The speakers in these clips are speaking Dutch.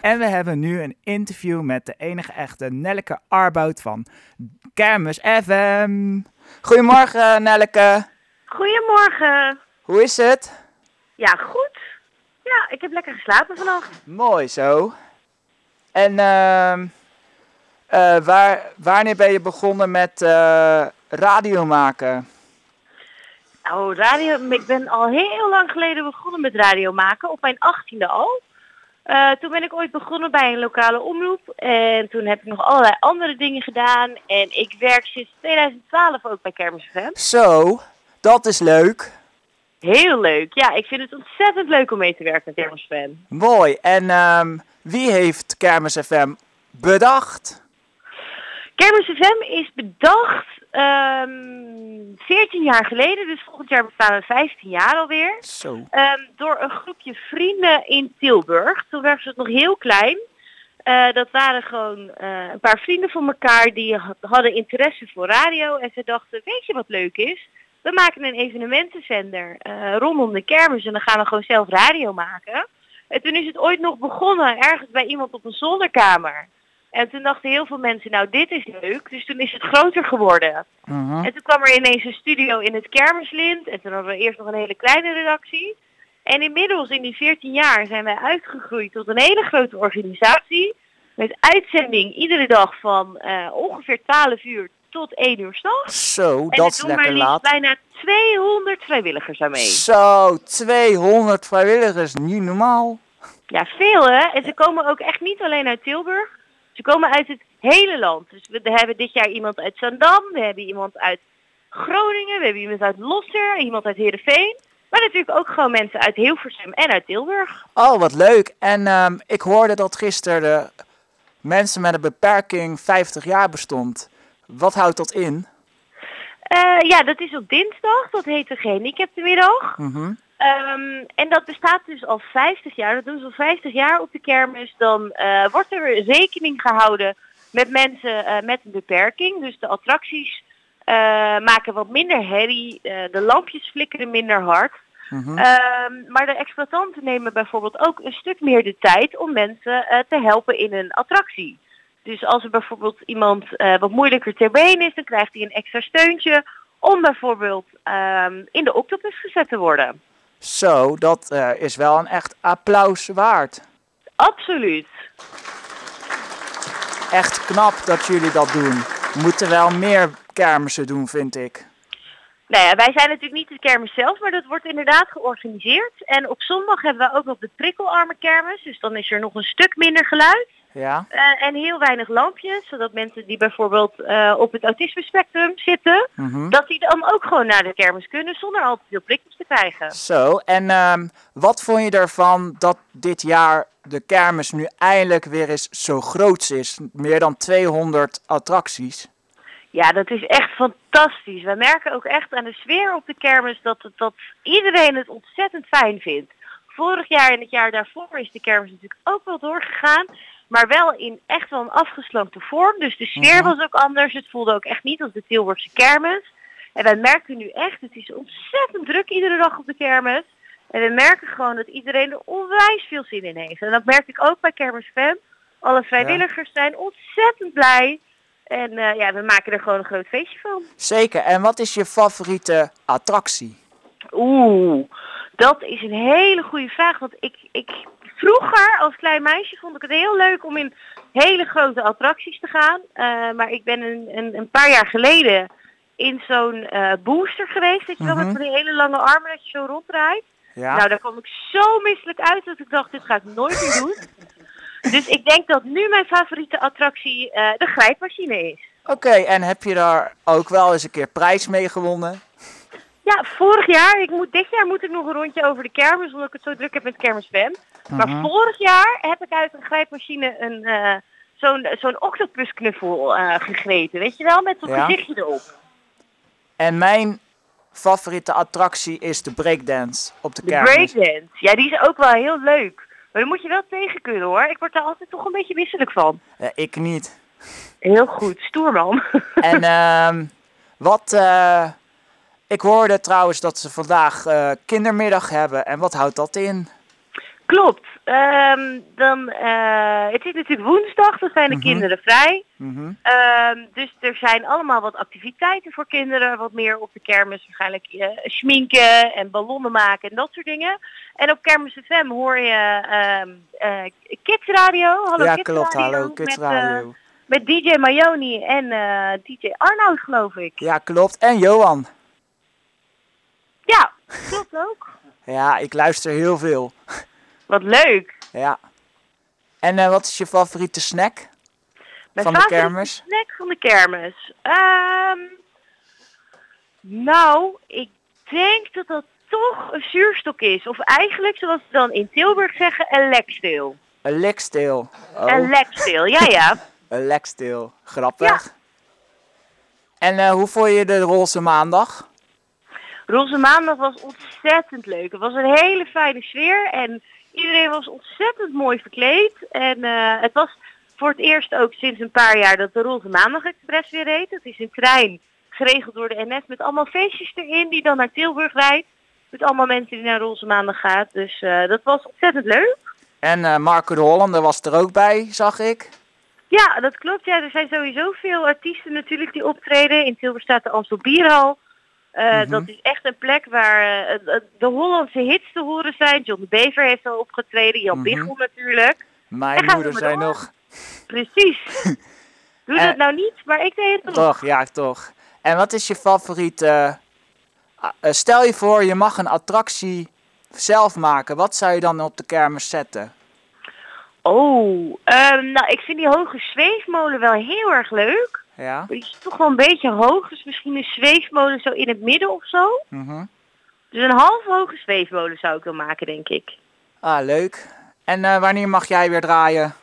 En we hebben nu een interview met de enige echte Nelleke Arbout van Kermis FM. Goedemorgen Nelleke, Goedemorgen. hoe is het? Ja, goed. Ja, ik heb lekker geslapen vannacht. Mooi zo. En ehm, eh, waar, wanneer ben je begonnen met eh, radio maken? Oh, radio. Ik ben al heel lang geleden begonnen met radio maken, op mijn achttiende al. Eh, toen ben ik ooit begonnen bij een lokale omroep en toen heb ik nog allerlei andere dingen gedaan. En ik werk sinds 2012 ook bij Kermis FM. Zo, dat is leuk. Heel leuk. Ja, ik vind het ontzettend leuk om mee te werken met Kermis FM. Mooi. En ehm, wie heeft Kermis FM bedacht? Kermis FM is bedacht ehm 14 jaar geleden, dus volgend jaar bestaan we 15 jaar alweer. Zo. Ehm, door een groepje vrienden in Tilburg. Toen werd het nog heel klein. Eh, dat waren gewoon eh, een paar vrienden van elkaar die ha- hadden interesse voor radio. En ze dachten, weet je wat leuk is? We maken een evenementenzender eh, rondom de kermis en dan gaan we gewoon zelf radio maken. En toen is het ooit nog begonnen, ergens bij iemand op een zolderkamer. En toen dachten heel veel mensen, nou dit is leuk. Dus toen is het groter geworden. Mhm. En toen kwam er ineens een studio in het Kermislint. En toen hadden we eerst nog een hele kleine redactie. En inmiddels in die 14 jaar zijn wij uitgegroeid tot een hele grote organisatie. Met uitzending iedere dag van eh, ongeveer 12 uur tot 1 uur s'nachts. Zo, En dat er is doen maar lekker liefst laat. bijna 200 vrijwilligers aan mee. Zo, 200 vrijwilligers, niet normaal. Ja, veel hè. En ze komen ook echt niet alleen uit Tilburg. Ze komen uit het hele land. Dus we hebben dit jaar iemand uit Zandam, we hebben iemand uit Groningen, we hebben iemand uit Losser, iemand uit Heerenveen. Maar natuurlijk ook gewoon mensen uit Hilversum en uit Tilburg. Oh, wat leuk. En ehm, ik hoorde dat gisteren de mensen met een beperking 50 jaar bestond. Wat houdt dat in? Eh, ja, dat is op dinsdag. Dat heet de gehandicaptenmiddag. Mhm. Ehm, en dat bestaat dus al 50 jaar. Dat doen ze al 50 jaar op de kermis. Dan eh, wordt er rekening gehouden met mensen eh, met een beperking. Dus de attracties eh, maken wat minder herrie. eh, de lampjes flikkeren minder hard. Mhm. Ehm, maar de exploitanten nemen bijvoorbeeld ook een stuk meer de tijd om mensen eh, te helpen in een attractie. Dus als er bijvoorbeeld iemand eh, wat moeilijker ter been is, dan krijgt hij een extra steuntje om bijvoorbeeld ehm, in de octopus gezet te worden. Zo, dat eh, is wel een echt applaus waard. Absoluut. Echt knap dat jullie dat doen. We moeten wel meer kermissen doen, vind ik. Nou ja, wij zijn natuurlijk niet de kermis zelf, maar dat wordt inderdaad georganiseerd. En op zondag hebben we ook nog de prikkelarme kermis, dus dan is er nog een stuk minder geluid. Ja, eh, en heel weinig lampjes, zodat mensen die bijvoorbeeld eh, op het autisme spectrum zitten, Mhm. dat die dan ook gewoon naar de kermis kunnen zonder al te veel prikjes te krijgen. zo. En ehm, wat vond je ervan dat dit jaar de kermis nu eindelijk weer eens zo groot is? Meer dan 200 attracties. Ja, dat is echt fantastisch. We merken ook echt aan de sfeer op de kermis dat, het- dat iedereen het ontzettend fijn vindt. Vorig jaar en het jaar daarvoor is de kermis natuurlijk ook wel doorgegaan. Maar wel in echt wel een afgesloten vorm. Dus de sfeer was ook anders. Het voelde ook echt niet als de Tilburgse kermis. En wij merken nu echt, het is ontzettend druk iedere dag op de kermis. En we merken gewoon dat iedereen er onwijs veel zin in heeft. En dat merk ik ook bij Kermis Fam. Alle vrijwilligers zijn ontzettend blij. En eh, ja, we maken er gewoon een groot feestje van. Zeker. En wat is je favoriete attractie? Oeh, dat is een hele goede vraag. Want ik, ik vroeger als klein meisje vond ik het heel leuk om in hele grote attracties te gaan. Eh, maar ik ben een, een, een paar jaar geleden in zo'n eh, booster geweest. Weet je wel, Mhm. met van die hele lange armen dat je zo ronddraait. Ja. Nou, daar kwam ik zo misselijk uit dat ik dacht, dit ga ik nooit meer doen. dus ik denk dat nu mijn favoriete attractie eh, de grijpmachine is. Oké, en heb je daar ook wel eens een keer prijs mee gewonnen? Ja, vorig jaar. Ik moet, dit jaar moet ik nog een rondje over de kermis, omdat ik het zo druk heb met kermisfam. Mhm. Maar vorig jaar heb ik uit een grijpmachine een, eh, zo'n, zo'n octopusknuffel eh, gegrepen. Weet je wel, met zo'n Ja. gezichtje erop. En mijn favoriete attractie is de breakdance op de De kermis. breakdance. Ja, die is ook wel heel leuk. Maar dan moet je wel tegen kunnen hoor. Ik word daar altijd toch een beetje misselijk van. Eh, ik niet. Heel goed, stoer man. En ehm, wat... eh, ik hoorde trouwens dat ze vandaag eh, kindermiddag hebben. En wat houdt dat in? Klopt. Ehm, dan, eh, het is natuurlijk woensdag, dan zijn de Mhm. kinderen vrij. Mhm. Ehm, dus er zijn allemaal wat activiteiten voor kinderen, wat meer op de kermis waarschijnlijk eh, schminken en ballonnen maken en dat soort dingen. En op Kermis FM hoor je ehm eh, Kids Radio. Hallo ja, Kids klopt. Radio, Hallo, Kids met, eh, Radio. met DJ Mayoni en eh, DJ Arnoud geloof ik. Ja, klopt. En Johan. Ja, klopt ook. Ja, ik luister heel veel. Wat leuk. Ja. En eh, wat is je favoriete snack? Mijn Van de favoriete kermis? snack van de kermis. Ehm, nou, ik denk dat dat toch een zuurstok is. Of eigenlijk, zoals ze dan in Tilburg zeggen, een leksteel. Een leksteel. Oh, Een leksteel, ja ja. een leksteel. Grappig. En eh, hoe vond je de roze maandag? Roze Maandag was ontzettend leuk. Het was een hele fijne sfeer en iedereen was ontzettend mooi verkleed. En eh, het was voor het eerst ook sinds een paar jaar dat de Roze Maandag Express weer reed. Het is een trein geregeld door de NS met allemaal feestjes erin die dan naar Tilburg rijdt. Met allemaal mensen die naar Roze Maandag gaat. Dus eh, dat was ontzettend leuk. En eh, Marco de Hollander was er ook bij, zag ik. Ja, dat klopt. Ja, er zijn sowieso veel artiesten natuurlijk die optreden. In Tilburg staat de Amstel Bierhal. Eh, Mhm. Dat is echt een plek waar eh, eh, de Hollandse hits te horen zijn. John de Bever heeft al opgetreden, Jan Mhm. Biggel natuurlijk. Mijn Daar gaan we moeder maar zei door. nog... Precies. Doe Eh, oh. dat nou niet, maar ik deed het toch. Toch, ja, toch. En wat is je favoriete... eh, eh, stel je voor, je mag een attractie zelf maken. Wat zou je dan op de kermis zetten? Oh, ehm, nou ik vind die hoge zweefmolen wel heel erg leuk. Ja? Maar die is toch wel een beetje hoog, dus misschien een zweefmolen zo in het midden of zo. Mhm. Dus een half hoge zweefmolen zou ik wel maken, denk ik. Ah, leuk. En eh, wanneer mag jij weer draaien?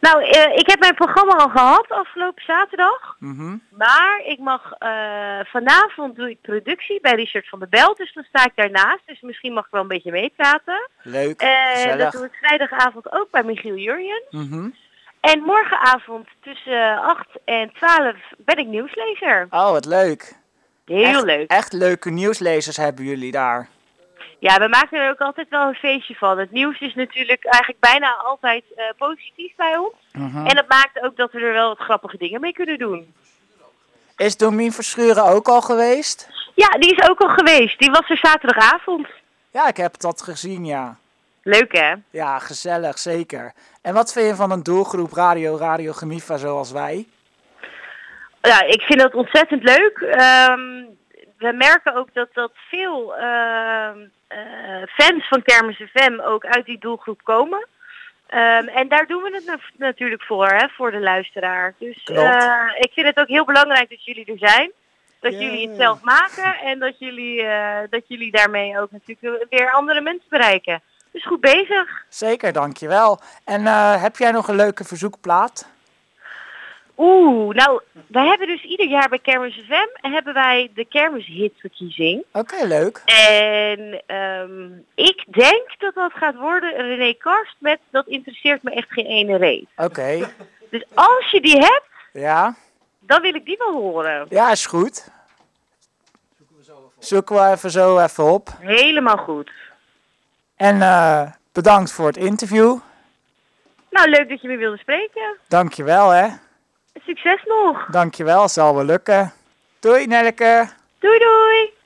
Nou, eh, ik heb mijn programma al gehad afgelopen zaterdag. Mhm. Maar ik mag eh, vanavond doe ik productie bij Richard van der Bel. Dus dan sta ik daarnaast. Dus misschien mag ik wel een beetje meepraten. Leuk, Eh, En dat gezellig. doe ik vrijdagavond ook bij Michiel Jurjen. Mhm. En morgenavond tussen 8 en 12 ben ik nieuwslezer. Oh, wat leuk. Heel echt, leuk. Echt leuke nieuwslezers hebben jullie daar. Ja, we maken er ook altijd wel een feestje van. Het nieuws is natuurlijk eigenlijk bijna altijd eh, positief bij ons. En dat maakt ook dat we er wel wat grappige dingen mee kunnen doen. Is Domien Verschuren ook al geweest? Ja, die is ook al geweest. Die was er zaterdagavond. Ja, ik heb dat gezien, ja. Leuk hè? Ja, gezellig, zeker. En wat vind je van een doelgroep Radio Radio Gemifa zoals wij? Ja, ik vind dat ontzettend leuk. Ehm, we merken ook dat, dat veel ehm, eh, fans van Kermis FM ook uit die doelgroep komen. Ehm, en daar doen we het na- natuurlijk voor, hè, voor de luisteraar. Dus Klopt. eh, ik vind het ook heel belangrijk dat jullie er zijn. Dat Ja. jullie het zelf maken en dat jullie, eh, dat jullie daarmee ook natuurlijk weer andere mensen bereiken. Dus goed bezig. Zeker, dankjewel. En eh, heb jij nog een leuke verzoekplaat? Oeh, nou, we hebben dus ieder jaar bij Kermis FM hebben wij de kermishitverkiezing. Oké, leuk. En ehm, ik denk dat dat gaat worden René Karst met dat interesseert me echt geen ene reet. Oké, Dus als je die hebt, ja. dan wil ik die wel horen. Ja, is goed. Zoeken we even zo even op. Helemaal goed. En eh, bedankt voor het interview. Nou, leuk dat je me wilde spreken. Dankjewel, hè. Succes nog. Dankjewel, zal wel lukken. Doei, Nelke. Doei doei.